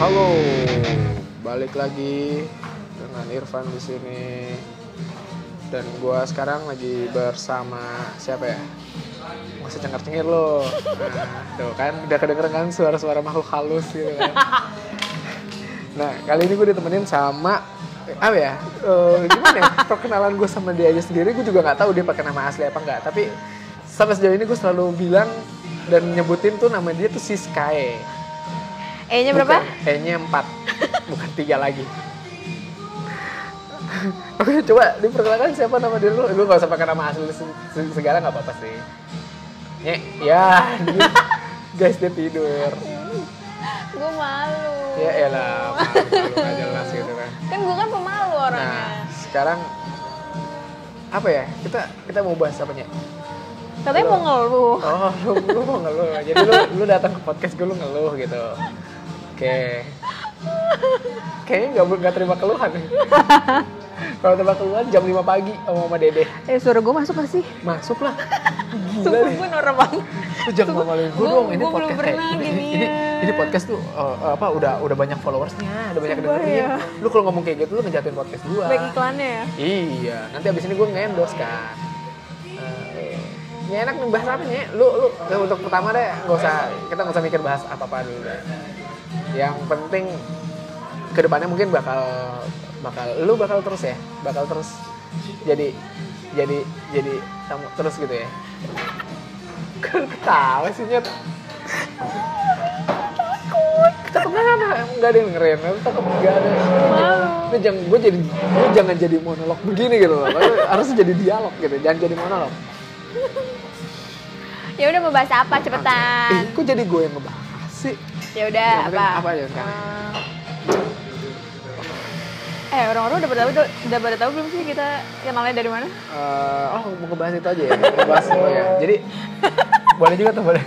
Halo, balik lagi dengan Irfan di sini. Dan gua sekarang lagi bersama siapa ya? Masih cengar-cengir lo. Nah, tuh kan udah kedengeran kan suara-suara makhluk halus gitu kan. Nah, kali ini gue ditemenin sama eh, apa ya? Eh, gimana ya? Perkenalan gue sama dia aja sendiri gue juga nggak tahu dia pakai nama asli apa nggak, tapi sampai sejauh ini gue selalu bilang dan nyebutin tuh nama dia tuh Siskae. E-nya Iya, berapa? Bukan, E-nya 4. Bukan 3 lagi. Oke, coba diperkenalkan siapa nama diri lu? Lu gak usah pakai nama asli se- se- segala gak apa-apa sih. Nye, ya. dia- guys, dia tidur. Gue malu. Ya elah, malu-malu gak jelas gitu kan. Kan gue kan pemalu orangnya. Nah, sekarang apa ya? Kita kita mau bahas apa Nye? Katanya mau ngeluh. Oh, lu, lu mau ngeluh. Jadi lu lu datang ke podcast gue lu ngeluh gitu. Oke. Kayaknya nggak nggak terima keluhan. nih. Kalau terima keluhan jam 5 pagi sama Mama Dede. Eh suara gue masuk gak sih? Masuklah. Gila Sumpah nih. gue norak banget. Lu jangan Sumpah, malu-maluin gue gua- dong. Ini gua belum podcast eh. pernah ini, gini. ini, ini podcast tuh eh, apa udah udah banyak followersnya, udah banyak Sumpah dengerin. ya. Lu kalau ngomong kayak gitu lu ngejatuhin podcast gua. Baik iklannya ya. Iya, nanti abis ini gue ngendos kan. Eh, Ya enak nih bahas apa nih? Lu, lu ya untuk pertama deh, nggak usah kita nggak usah mikir bahas apa apa dulu deh. Yang penting kedepannya mungkin bakal bakal lu bakal terus ya, bakal terus jadi jadi jadi tamu terus gitu ya. Kan ketawa sih nyet. Takut. kenapa? Enggak ada yang dengerin. Takut enggak ada. Malu. Ini jangan gue jadi gue jangan jadi monolog begini gitu loh. Lu Harus jadi dialog gitu, jangan jadi monolog. Ya udah mau bahas apa cepetan. Eh, kok jadi gue yang ngebahas sih? Ya udah Yang penting apa? apa aja sekarang? Eh orang-orang udah pada tahu tuh- udah pada tahu belum sih kita kenalnya dari mana? Eh, oh mau ngebahas itu aja ya, ngebahas semua ya. Jadi boleh juga tuh boleh.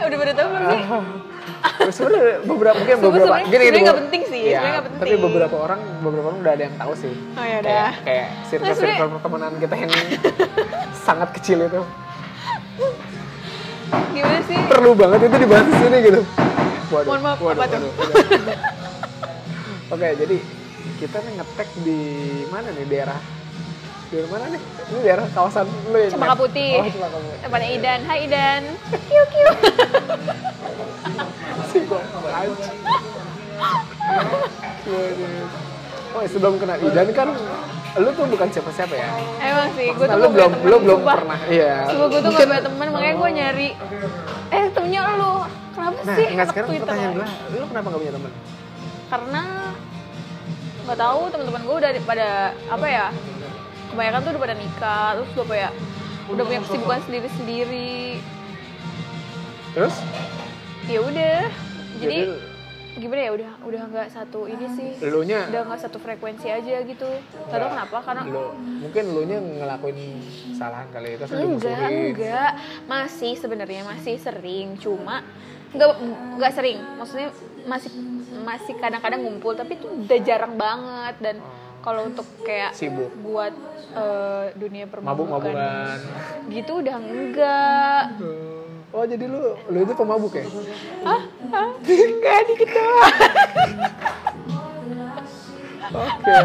udah pada tahu belum sih? Eh, sebenarnya beberapa mungkin Sebenarnya- beberapa sebenarnya nggak beberapa- penting sih, Iya, sebenarnya nggak penting. tapi beberapa orang beberapa orang udah ada yang tahu sih Oh ya udah. kayak kayak circle circle sebenarnya- pertemanan kita yang sangat kecil itu Gimana sih? perlu banget itu dibahas di sini gitu. Waduh, Mohon maaf, apa tuh? Oke, jadi kita nih ngetek di mana nih daerah? Di mana nih? Ini daerah kawasan lu ya? Nyak? Cempaka Putih. Oh, Cempaka Putih. Tempatnya Idan. Hai Idan. Kiu kiu. Si gua anjing. Waduh. Oh, sebelum kena Idan kan lu tuh bukan siapa-siapa ya? Emang sih, gue Iya, tuh Maksudnya lu nggak belum punya lu temen, belum sumpah. pernah. Iya. Sumpah gue tuh Mungkin- gak punya temen, makanya gue nyari Eh temennya lu, kenapa Nah, sih enggak anak sekarang Twitter? pertanyaan gua, lu kenapa gak punya teman? Karena gak tahu teman-teman gue udah di- pada apa ya Kebanyakan tuh udah pada nikah, terus udah kayak udah punya kesibukan sendiri-sendiri Terus? Ya udah, jadi Jadi- gimana ya udah udah nggak satu ini sih Elunya- udah nggak satu frekuensi aja gitu gak tau kenapa karena lu mungkin lu nya ngelakuin kesalahan kali ya, itu enggak enggak masih sebenarnya masih sering cuma enggak enggak sering maksudnya masih masih kadang-kadang ngumpul tapi itu udah jarang banget dan kalau untuk kayak Oh. Sibuk. buat eh, dunia mabuk permabukan mabukan gitu udah enggak oh jadi lu lu itu pemabuk ya ah ah enggak diketawa oke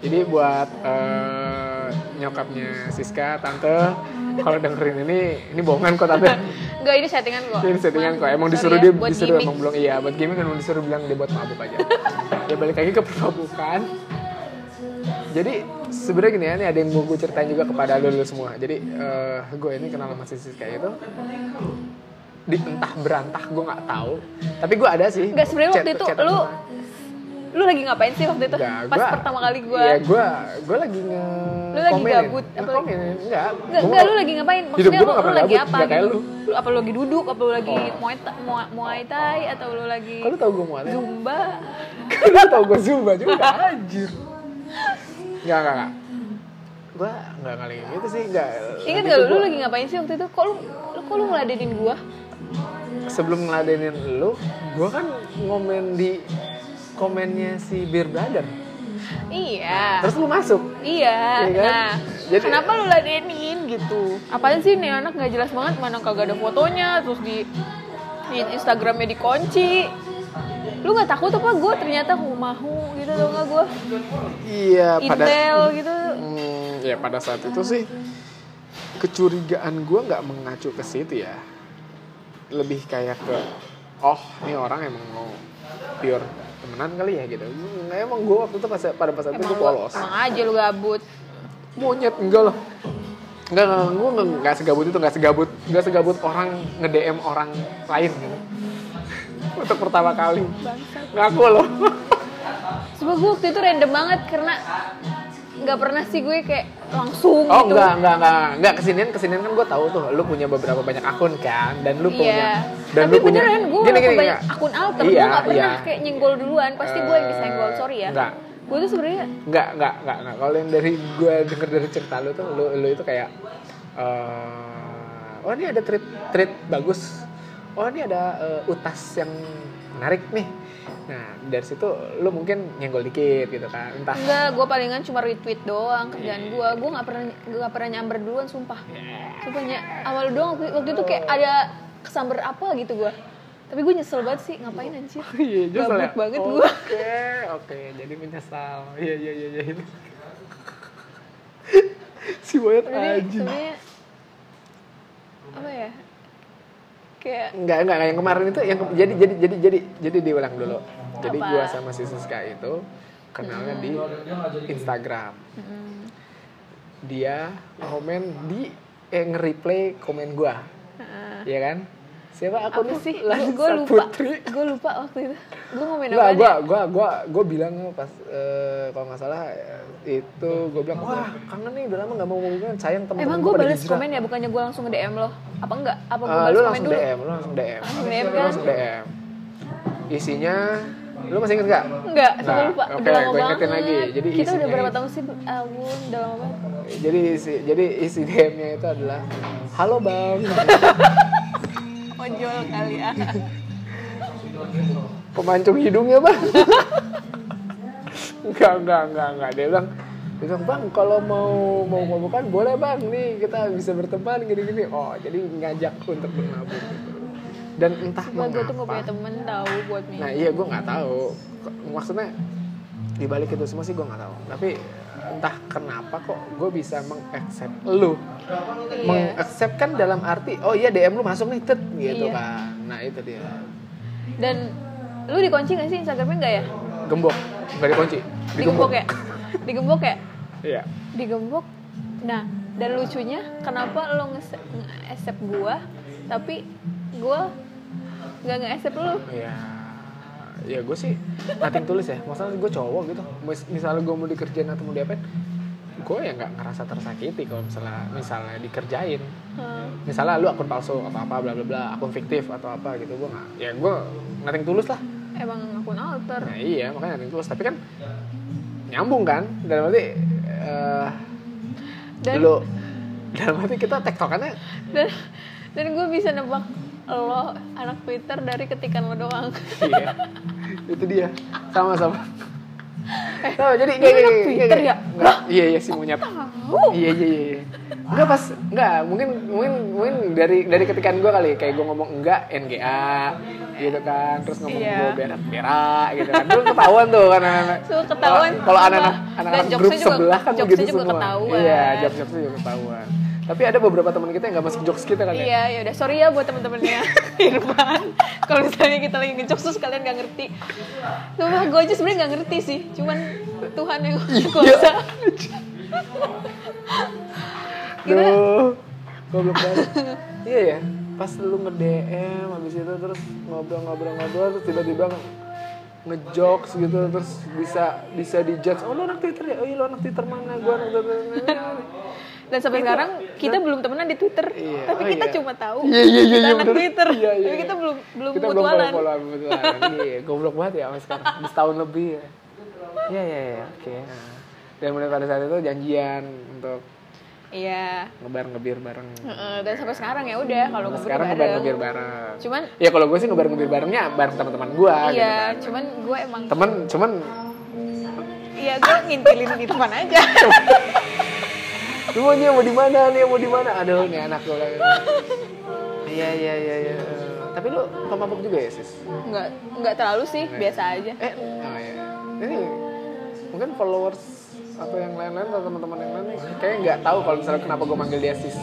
jadi buat eh, nyokapnya Siska tante kalau dengerin ini ini bohongan kok tante enggak ini settingan kok ini settingan kok emang Sorry disuruh ya, dia buat disuruh gimmick. emang belum iya buat gaming kan emang disuruh bilang dia buat mabuk aja ya balik lagi ke permabukan jadi sebenarnya gini ya, ini ada yang mau gue ceritain juga kepada lo lo semua. Jadi eh, gue ini kenal sama Siska kayak itu di entah berantah gue nggak tahu. Tapi gue ada sih. enggak sebenarnya waktu chat- itu chatan lu sama- lu lagi ngapain sih waktu itu Enggak, pas gua- pertama kali gue Iya, gue gue lagi nge Lu lagi komenin. gabut, Nge- apa- komenin, enggak. Enggak, Gua enggak, lu nggak- lagi ngapain? Hidup Maksudnya gua lu, nggak lu pernah lagi gabut, apa? nggak kayak Oh. gitu? Lu apa lu lagi duduk, apa lu lagi muay, ta- mua- muay thai, atau lu lagi Kalau tau gue mualnya. zumba? Lu tau gue Zumba juga, anjir. Enggak, enggak, enggak. Gue enggak kali gitu sih, enggak. Ingat Tapi gak lu, gua- lu lagi ngapain sih waktu itu? Kok lu, lu kok lu ngeladenin gua? Sebelum ngeladenin lu, gue kan ngomen di komennya si Beer Brother. Iya. Terus lu masuk. Iya. Iya kan? Nah, Jadi- kenapa lu ladenin gitu? Apaan sih nih anak nggak jelas banget mana kagak ada fotonya, terus di di Instagramnya dikunci. lu nggak takut apa gue ternyata humahu gitu tau nggak gue Iya, pada intel gitu Hmm, ya pada saat itu sih kecurigaan gue nggak mengacu ke situ ya. Lebih kayak ke oh, ini orang emang mau pure temenan kali ya gitu. Hmm, Emang gue waktu itu pas, pada pas itu emang gue lu- polos. emang aja lu gabut Monyet enggak loh. Enggak, enggak, gue enggak, enggak segabut itu, enggak segabut, enggak segabut orang nge-DM orang lain. gitu. Untuk pertama kali. Ngaku loh. sebab gue waktu itu random banget karena nggak pernah sih gue kayak langsung Oh gitu enggak, enggak, enggak, enggak kesinian kesinian kan gue tahu tuh lu punya beberapa banyak akun kan dan lu punya Iya. dan Tapi lu punya beneran gue Gini, gini, gini, banyak enggak. akun alter, Iya, gue gak pernah iya. kayak nyenggol duluan. Pasti gue yang disenggol, Eh, sorry ya. enggak. Gue tuh sebenarnya Enggak, enggak, enggak, enggak. Kalau yang dari gue denger dari cerita lu tuh lu, lu itu kayak eh, oh ini ada treat treat bagus. Oh ini ada eh, utas yang menarik nih. Nah, dari situ lu mungkin nyenggol dikit gitu kan. Entah enggak, gue palingan cuma retweet doang kerjaan gue. Gue nggak pernah nggak pernah nyamber duluan, sumpah. Sumpah ya, awal doang waktu, waktu itu kayak ada kesamber apa gitu gue. Tapi gue nyesel banget sih, ngapain anjir. Iya, justru Gabut banget gua. Oke, oke, jadi menyesal. Iya, iya, iya, iya. si Boyet Jadi aja. sebenarnya apa ya? Kayak Enggak, enggak, enggak, yang kemarin itu yang ke- jadi jadi jadi jadi jadi diulang dulu. Jadi Hmm. Apa? Hmm. gua sama si Siska itu kenalnya di Instagram. Dia komen di eh nge-replay komen gua. Iya kan? Siapa aku Hmm. apa sih? Gue Lansa lupa. Putri. Gue lupa waktu itu. Gue ngomongin Nggak, apa? gua, gua, gua, gua bilang pas eh, kalau nggak salah eh, itu gua bilang wah kangen nih udah lama nggak mau hubungan sayang temen Emang gue balas komen ya, bukannya gue langsung nge-DM lo? Apa enggak? Apa gue balas Ah, lu komen langsung dulu? DM, lu langsung DM. Langsung DM Lu kan? Langsung DM. Isinya lu masih inget gak? Enggak, sumpah lupa. Nah, oke, udah lama gua ingetin banget. lagi. Jadi kita udah isinya berapa itu- tahun sih? Awun, udah lama banget. Jadi isi jadi isi DM-nya itu adalah halo bang. Ojol kali ya. Pemancung hidungnya bang. enggak, enggak, enggak, enggak. Dia bilang dia bilang bang kalau mau mau mabukkan boleh bang nih kita bisa berteman gini-gini. Oh jadi ngajak untuk bermabuk. gitu. Dan entah Gue mengapa. gue tuh gak punya temen tahu buat nih. Nah iya gue nggak tahu. K- Maksudnya dibalik itu semua sih gue nggak tahu. Tapi entah kenapa kok gue bisa mengaccept lu. Iya. Mengaccept kan dalam arti oh iya DM lu masuk nih tet gitu Iya. kan. Nah itu dia. Dan lu dikunci gak sih Instagramnya enggak ya? Gembok nggak dikunci. Digembok ya? Digembok ya? Iya. Digembok. Nah, dan lucunya kenapa lu nge- nge-accept gue tapi gue gak nge-accept lu? Iya. Ya gue sih nothing tulis ya. Masalah gue cowok gitu. Mis- Misalnya gue mau dikerjain atau mau diapain, gue ya nggak ngerasa tersakiti kalau misalnya misalnya dikerjain. Hmm. misalnya lu akun palsu apa apa bla bla bla akun fiktif atau apa gitu gua nggak ya gua nothing tulus lah Emang akun alter. nah iya makanya nothing tulus tapi kan nyambung kan dalam arti eh Dan- lu dalam arti kita tektokannya dan dan gue bisa nebak lo anak Twitter dari ketikan lo doang. iya itu dia sama sama sama jadi lu Eh, anak Twitter ya? Nggak, iya iya sih monyet Tahu. iya iya iya enggak pas enggak mungkin mungkin mungkin dari dari ketikan gue kali kayak gue ngomong enggak NGA gitu kan terus ngomong Iya. gue berak berak gitu kan dulu ketahuan tuh kan anak-anak Semua ketahuan, Kalau- kalau anak-anak sumpah. anak-anak Dan grup jokesnya juga- sebelah kan jokesnya begitu juga semua ketahuan. iya jokes jokesnya juga ketahuan tapi ada beberapa teman kita yang nggak masuk jokes kita kan ya Iya, ya udah sorry ya buat temen-temennya Iya, Irfan. Kalau misalnya kita lagi ngejokes terus kalian gak ngerti. Sumpah gue aja sebenarnya gak ngerti sih, cuman Tuhan yang kuasa. Kita Duh, goblok banget. iya ya, pas lu nge-DM habis itu terus ngobrol-ngobrol-ngobrol terus tiba-tiba ngejokes gitu terus bisa bisa dijudge oh lu anak Twitter ya oh iya lu anak Twitter mana gua anak Twitter mana dan sampai sekarang kita belum temenan di Twitter, Iya, oh tapi kita iya. cuma tahu Iya, iya, iya, kita iya, anak bener. Twitter. Iya, iya, Tapi kita iya. belum belum kita belum mutualan. follow mutualan iya goblok banget ya sama sekarang Udah setahun lebih ya iya iya iya oke Nah, dan mulai pada saat itu janjian untuk Iya. ngebar ngebir bareng Heeh, dan sampai sekarang ya udah kalau Nah, ngobrol sekarang ngebar bareng. ngebir bareng Cuman ya kalau gue sih ngebar ngebir barengnya bareng teman-teman gue gitu kan iya, cuman gue emang temen cuman iya gue ngintilin di depan aja. lu mau dia mau di mana nih mau di mana aduh nih anak gue iya iya iya iya Tapi lu pemabuk juga ya, Sis? nggak nggak terlalu sih biasa aja Eh, oh iya. Ini mungkin followers atau yang lain-lain atau teman-teman yang lain nih, kayaknya nggak tahu kalau misalnya kenapa gue manggil dia sis.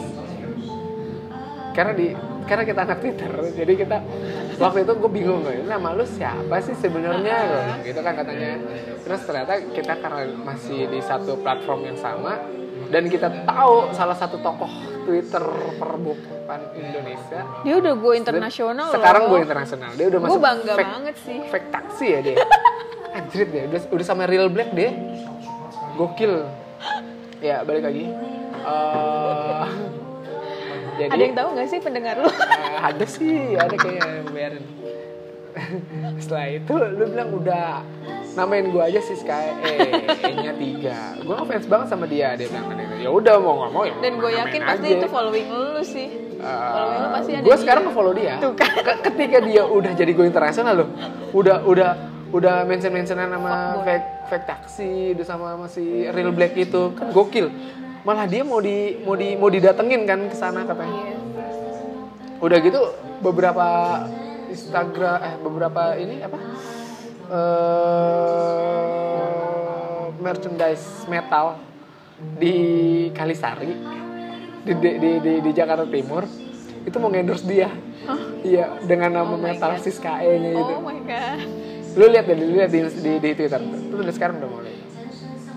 Karena di karena kita anak Twitter, jadi kita waktu itu gue bingung gue, nama lu siapa sih sebenarnya? Gue bilang Gitu kan katanya. Terus ternyata kita karena masih di satu platform yang sama dan kita tahu salah satu tokoh Twitter perbukitan Indonesia. dia Ya udah gue internasional Sekarang loh. gue internasional. Dia udah Gua masuk bangga fact- banget sih. Fake taksi ya dia. Anjrit deh, udah, udah sama real black deh. Gokil. Ya, balik lagi. Eh, jadi ada yang tahu nggak sih pendengar lu eh, ada sih, ada kayaknya yang bayarin. Setelah itu lu bilang udah namain gue aja sih Sky eh nya tiga gue ngefans banget sama dia dia bilang kan ya udah mau nggak mau ya dan gue yakin namain pasti aja. itu following lu sih following lu pasti ada gue di- Ah, sekarang nge-follow dia. Tuh kan. Ke- Ketika dia udah jadi gue internasional loh, udah udah udah mention mentionan sama Fuckboy. fake fake taksi, udah sama masih real black itu kan gokil. Malah dia mau di mau di mau didatengin kan ke sana katanya. Iya. Udah gitu beberapa Instagram eh beberapa ini apa? eh merchandise metal di Kalisari di di, di, di- di Jakarta Timur itu mau endorse dia. Iya, dengan nama Oh my metal God. sis KE-nya gitu. oh my god Lu lihat deh, lu lihat di, di, di Twitter. Lu udah sekarang udah mulai.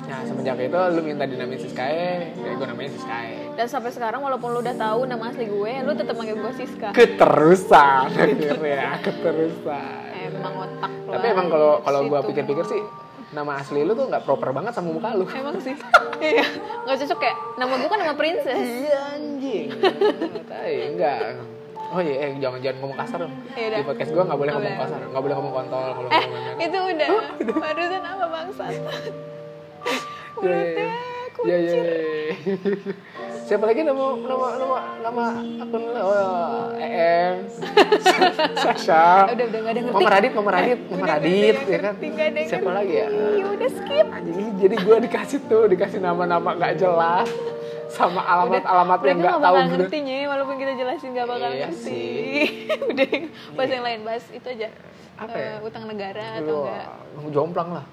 Nah, semenjak itu lu minta dinamain sis KE, ya gue namain sis KE. dan sampai sekarang walaupun lu udah tahu nama asli gue lu tetap manggil gue Siska keterusan akhirnya keterusan emang otak lu tapi emang kalau kalau situ. gue pikir-pikir sih nama asli lu tuh nggak proper banget sama muka lu emang sih iya nggak cocok kayak nama gue kan nama princess iya anjing tai enggak oh iya eh, jangan jangan ngomong kasar dong Iya, di dah. podcast gue nggak boleh Nggak ngomong boleh. kasar nggak boleh ngomong kontol kalau eh ngomong main-main. itu udah barusan apa bangsa Iya, iya, mulutnya iya iya iya, iya. siapa lagi nama nama nama nama akun lu oh, em Sasha udah udah nggak ada yang ngerti Mama Radit, Mama Radit, Mama udah, Radit, ya udah, udah, kan? tinggal denger. Siapa lagi ya? Iya, udah skip Anjing, jadi gue dikasih tuh, dikasih nama-nama nggak jelas, sama alamat-alamat yang nggak mereka nggak tahu. bakal gitu. ngerti Nye, walaupun kita jelasin nggak bakal Iya ngerti sih. Iya. udah bahas yang lain bahas itu aja Apa ya? Eh, utang negara atau Lu enggak jomplang lah.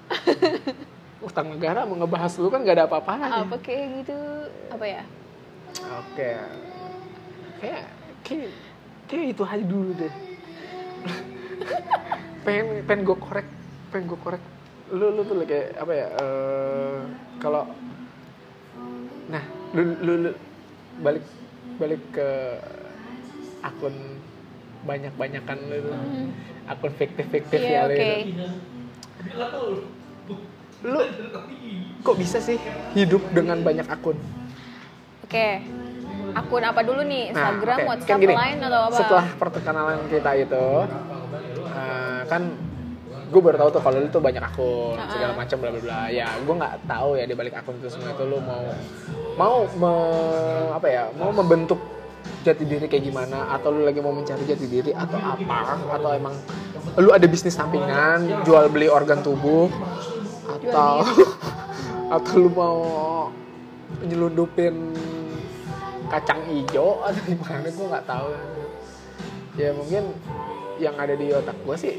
Utang negara mau ngebahas lu kan nggak ada apa apaan apa kayak gitu apa ya Oke. Kayak, kayak, kayak itu aja dulu deh. pengen, pengen gue korek, pengen gue korek. Lu, lu tuh kayak apa ya? eh, Kalau, nah, lu, lu, lu balik, balik ke akun banyak-banyakan lu, tuh. akun fiktif-fiktif Iya, ya lu. oke itu. Lu kok bisa sih hidup dengan banyak akun? oke akun apa dulu Nah, nih Instagram oke. Kan WhatsApp gini, Line atau apa Setelah perkenalan kita itu, eh, kan gue baru tahu tuh kalau lu tuh banyak akun segala macam bla bla bla. Ya gue nggak tahu ya di balik akun itu semua itu lu mau mau me- apa ya mau membentuk jati diri kayak gimana atau lu lagi mau mencari jati diri atau apa atau emang lu ada bisnis sampingan jual beli organ tubuh atau atau lu mau nyelundupin kacang hijau atau gimana gue nggak tahu ya mungkin yang ada di otak gue sih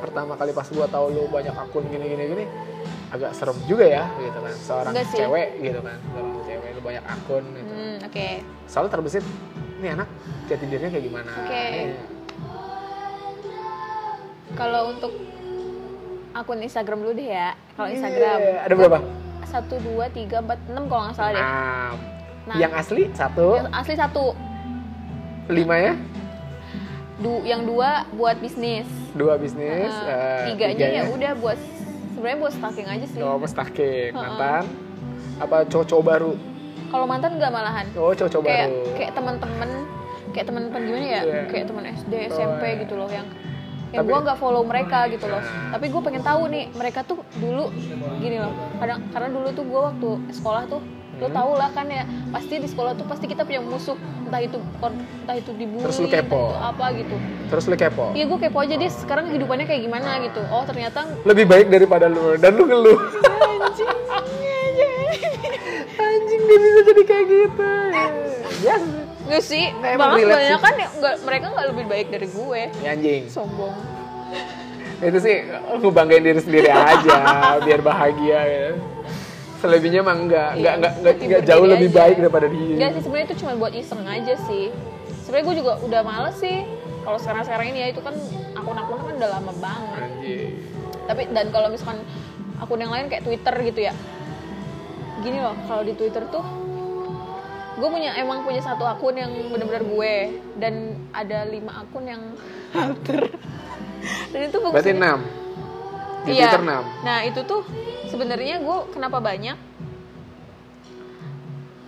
pertama kali pas gue tahu lu banyak akun gini gini gini agak serem juga ya gitu kan seorang Enggak sih. cewek gitu kan seorang cewek lu banyak akun gitu Hmm, oke soalnya terbesit ini anak jati dirinya kayak gimana Iya. Oke. Ini- Kalau untuk akun Instagram dulu deh ya. Kalau Instagram Iya, ada berapa satu dua tiga empat enam kalau nggak salah deh. enam Nah. yang asli satu Yang asli satu, lima ya du yang dua buat bisnis. dua bisnis Nah, eh, tiganya ya udah buat sebenarnya buat stalking aja sih. Oh, mustahil. Heeh. Mantan. Apa cowok-cowok baru? Kalau mantan nggak malahan. Oh, cowok-cowok Kayak baru. kayak teman-teman kayak teman-teman gimana ya? Iya. Kayak teman SD, SMP iya. gitu loh yang yang Tapi- gue nggak follow mereka gitu loh Nah. tapi gue pengen tahu nih mereka tuh dulu gini loh kadang karena dulu tuh gue waktu sekolah tuh lo Hmm. tau lah kan ya pasti di sekolah tuh pasti kita punya musuh entah itu kor- entah itu dibully Terus lu kepo. entah itu apa gitu Terus lu kepo. iya gue kepo aja deh sekarang hidupannya kayak gimana gitu oh ternyata Lebih baik daripada lu dan lu ngeluh. anjing anjing. Anjing gak bisa jadi kayak gitu. Yes. Nggak sih, Nah, emang malah relate banyak sih. kan mereka nggak lebih baik dari gue. Ya anjing. Sombong. Itu sih ngebanggain diri sendiri aja biar bahagia ya. Selebihnya mah enggak, enggak, Iya, enggak, enggak, hati enggak jauh berbeda lebih aja. baik daripada dia. Enggak sih sebenarnya itu cuma buat iseng aja sih. Sebenarnya gue juga udah males sih. Kalau sekarang-sekarang ini ya itu kan akun-akun kan udah lama banget. Anjing. Tapi dan kalau misalkan akun yang lain kayak Twitter gitu ya. Gini loh, kalau di Twitter tuh gue punya emang punya satu akun yang bener-bener gue dan ada lima akun yang alter. dan itu bagus Berarti 6. Di Iya. Twitter 6. Nah itu tuh sebenarnya gue kenapa banyak?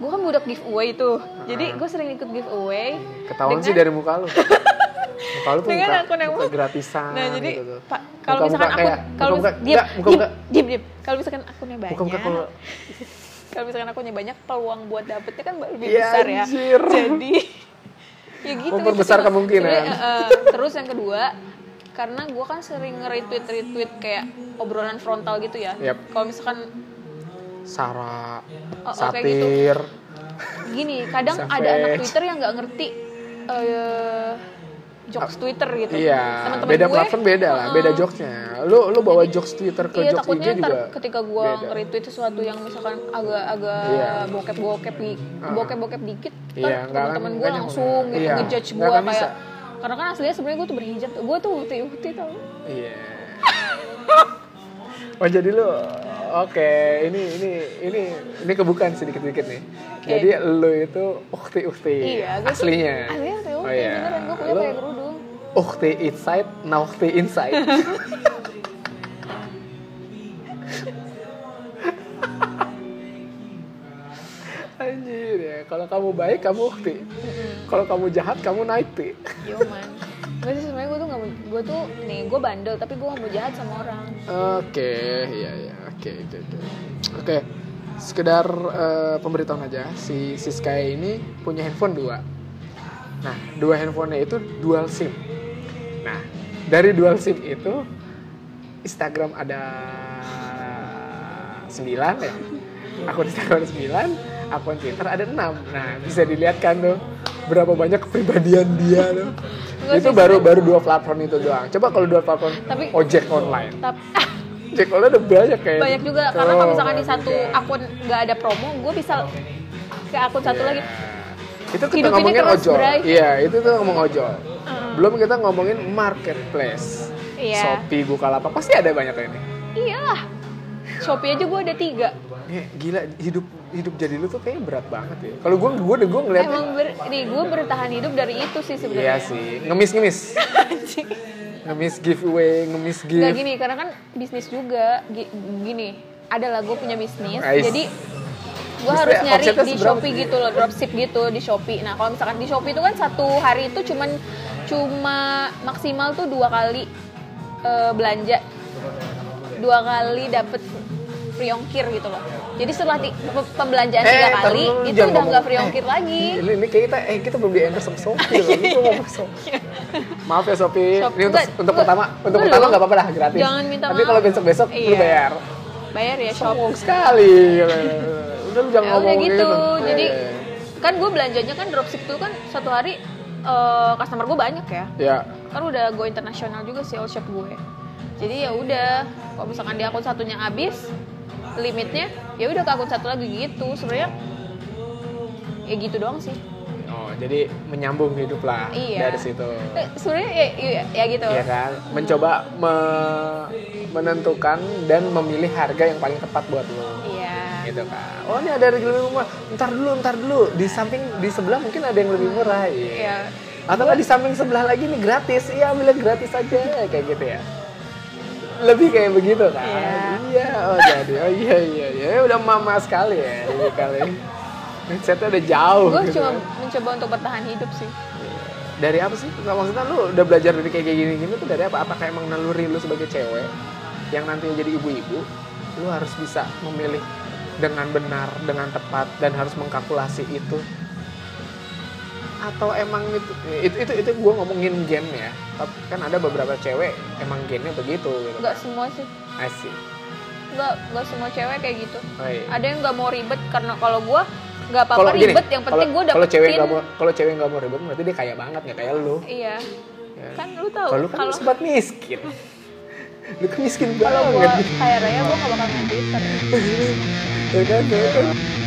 Gue kan budak giveaway itu, jadi gue sering ikut giveaway. Ketahuan sih dari muka lu. muka lu tuh dengan muka, akun yang muka gratisan Nah jadi gitu tuh. Pak, kalau Muka-muka misalkan akun kayak- kalau muka-muka- mis- Iya. diem, enggak, muka-muka- diem, diem, diem. kalau misalkan akunnya banyak, Muka-muka kalau kalau misalkan akunnya banyak peluang buat dapetnya kan lebih Iya, besar ya. anjir. Jadi ya gitu. Memperbesar gitu. kemungkinan. Sebenarnya, eh, terus yang kedua karena gue kan sering nge-retweet retweet kayak obrolan frontal gitu ya. Yap. Kalau misalkan Sara, Oh, oh, kayak gitu. satir. gini kadang Sampai- ada anak Twitter yang nggak ngerti eh jokes Twitter gitu Iya, Teman-teman beda gue, platform beda lah, uh-uh. beda jokesnya. Lu lu bawa jokes Twitter ke iya jokes IG takutnya ntar juga. ketika gue beda. nge-retweet sesuatu yang misalkan agak-agak Iya. Ah. bokep-bokep di- bokep-bokep dikit ntar Iya, nggak akan- teman-teman gue nggak nyambung. langsung gitu Iya, ngejudge nggak gue akan kayak bisa. karena kan aslinya sebenarnya gue tuh berhijab gue tuh uti-uti tau Iya. Oh jadi lu oke ini ini ini ini kebukaan sedikit-sedikit nih. Jadi lu itu ukti ukti iya gue tuh- aslinya. aslinya uti-uti Oh, iya. beneran gue kuliah Lu pakai kerudung ukti inside, nah ukti inside. Anjir ya, kalau kamu baik kamu ukti. Kalau kamu jahat kamu naikti. yo man gue sih sebenarnya gue tuh nggak mau gue tuh nih gue bandel tapi gue nggak mau jahat sama orang Oke, iya iya, oke itu itu. Oke, sekedar eh, pemberitahuan aja, si Siska ini punya handphone dua. Nah, dua handphonenya itu dual SIM. Nah, dari dual SIM itu Instagram ada 9 ya. Akun Instagram ada 9, akun Twitter ada 6. Nah, bisa dilihat kan tuh berapa banyak kepribadian dia tuh. Enggak itu sih, baru baru dua platform itu doang. Coba kalau dua platform Tapi- ojek online. tapi Ojek online udah banyak Oh. kayak. ah, banyak juga karena kalau misalkan di satu akun nggak ada promo gue bisa ke akun Iya. satu lagi Itu kita Hidup ini ngomongin terus, ojol. Bray. Iya, itu tuh ngomong ojol. Belum kita ngomongin marketplace. Iya. Shopee, Bukalapak pasti ada banyak ini. iyalah shopee aja gue ada tiga Nih, gila hidup hidup jadi lu tuh kayaknya berat banget ya. Kalau gua gua gua ngeliat emang ber, nih gue bertahan hidup dari itu sih Iya sebenarnya sih, ngemis-ngemis. Anjing. ngemis giveaway, ngemis nggak gift. gini karena kan bisnis juga Gi- gini adalah gue punya bisnis Ais. jadi gue Bisnisnya harus nyari omsetnya di seberapa shopee sih? gitu loh dropship gitu di shopee nah kalau misalkan di shopee itu kan satu hari itu cuman cuma maksimal tuh dua kali eh, belanja dua kali dapet free ongkir gitu loh jadi setelah ti- pe- pembelanjaan tiga Eh, ntar kali dulu, lu jangan itu udah ngomong. nggak free ongkir Eh, lagi Ini, ini kayak kita, eh kita belum di endorse sama Shopee Iya. loh. Ini gua ngomong Shopee. Maaf ya Shopee. Shop- ini untuk enggak, untuk enggak. pertama, untuk Belum. pertama nggak apa-apa dah gratis. Jangan minta Tapi maaf. kalau besok besok Iya. lu bayar. bayar ya shopee Sombong sekali. gitu. Udah lu jangan ya udah ngomong gitu, jadi Eh, kan gue belanjanya kan dropship tuh kan satu hari eh, customer gue banyak ya ya kan udah go internasional juga sih all shop gue jadi ya udah kalau misalkan di akun satunya habis limitnya ya udah ke akun satu lagi gitu sebenarnya ya gitu doang sih Oh, jadi menyambung hidup lah Iya. dari situ. Eh, sebenarnya ya, ya- ya gitu Iya kan? Mencoba me- menentukan dan memilih harga yang paling tepat buat lo. iya gitu kan oh ini ada yang lebih murah ntar dulu ntar dulu di samping di sebelah mungkin ada yang lebih murah Iya. ya atau nggak di samping sebelah lagi nih gratis iya ambil yang gratis aja kayak gitu ya lebih kayak begitu kan Iya. iya oh jadi oh iya iya iya udah mama sekali ya ini kali mindsetnya udah jauh gue gitu. cuma mencoba untuk bertahan hidup sih dari apa sih Nggak, maksudnya lu udah belajar dari kayak gini gini tuh dari apa apakah emang naluri lu sebagai cewek yang nantinya jadi ibu-ibu lu harus bisa memilih dengan benar dengan tepat dan harus mengkalkulasi itu atau emang itu itu itu, itu gue ngomongin gen ya tapi kan ada beberapa cewek emang gennya begitu gitu nggak semua sih asik nggak nggak semua cewek kayak gitu oh, iya. ada yang nggak mau ribet karena kalau gue nggak apa-apa Kalau gini, ribet yang penting kalau- gue kalau cewek dapetin nggak mau kalau cewek nggak mau ribet berarti dia kaya banget nggak kayak lu. iya Ya. kan lu tahu Kalau lu kan kalau sempat miskin. Lu kan miskin kalau gue banget. kayak raya gue gak bakal main Twitter Ya kan, ya kan.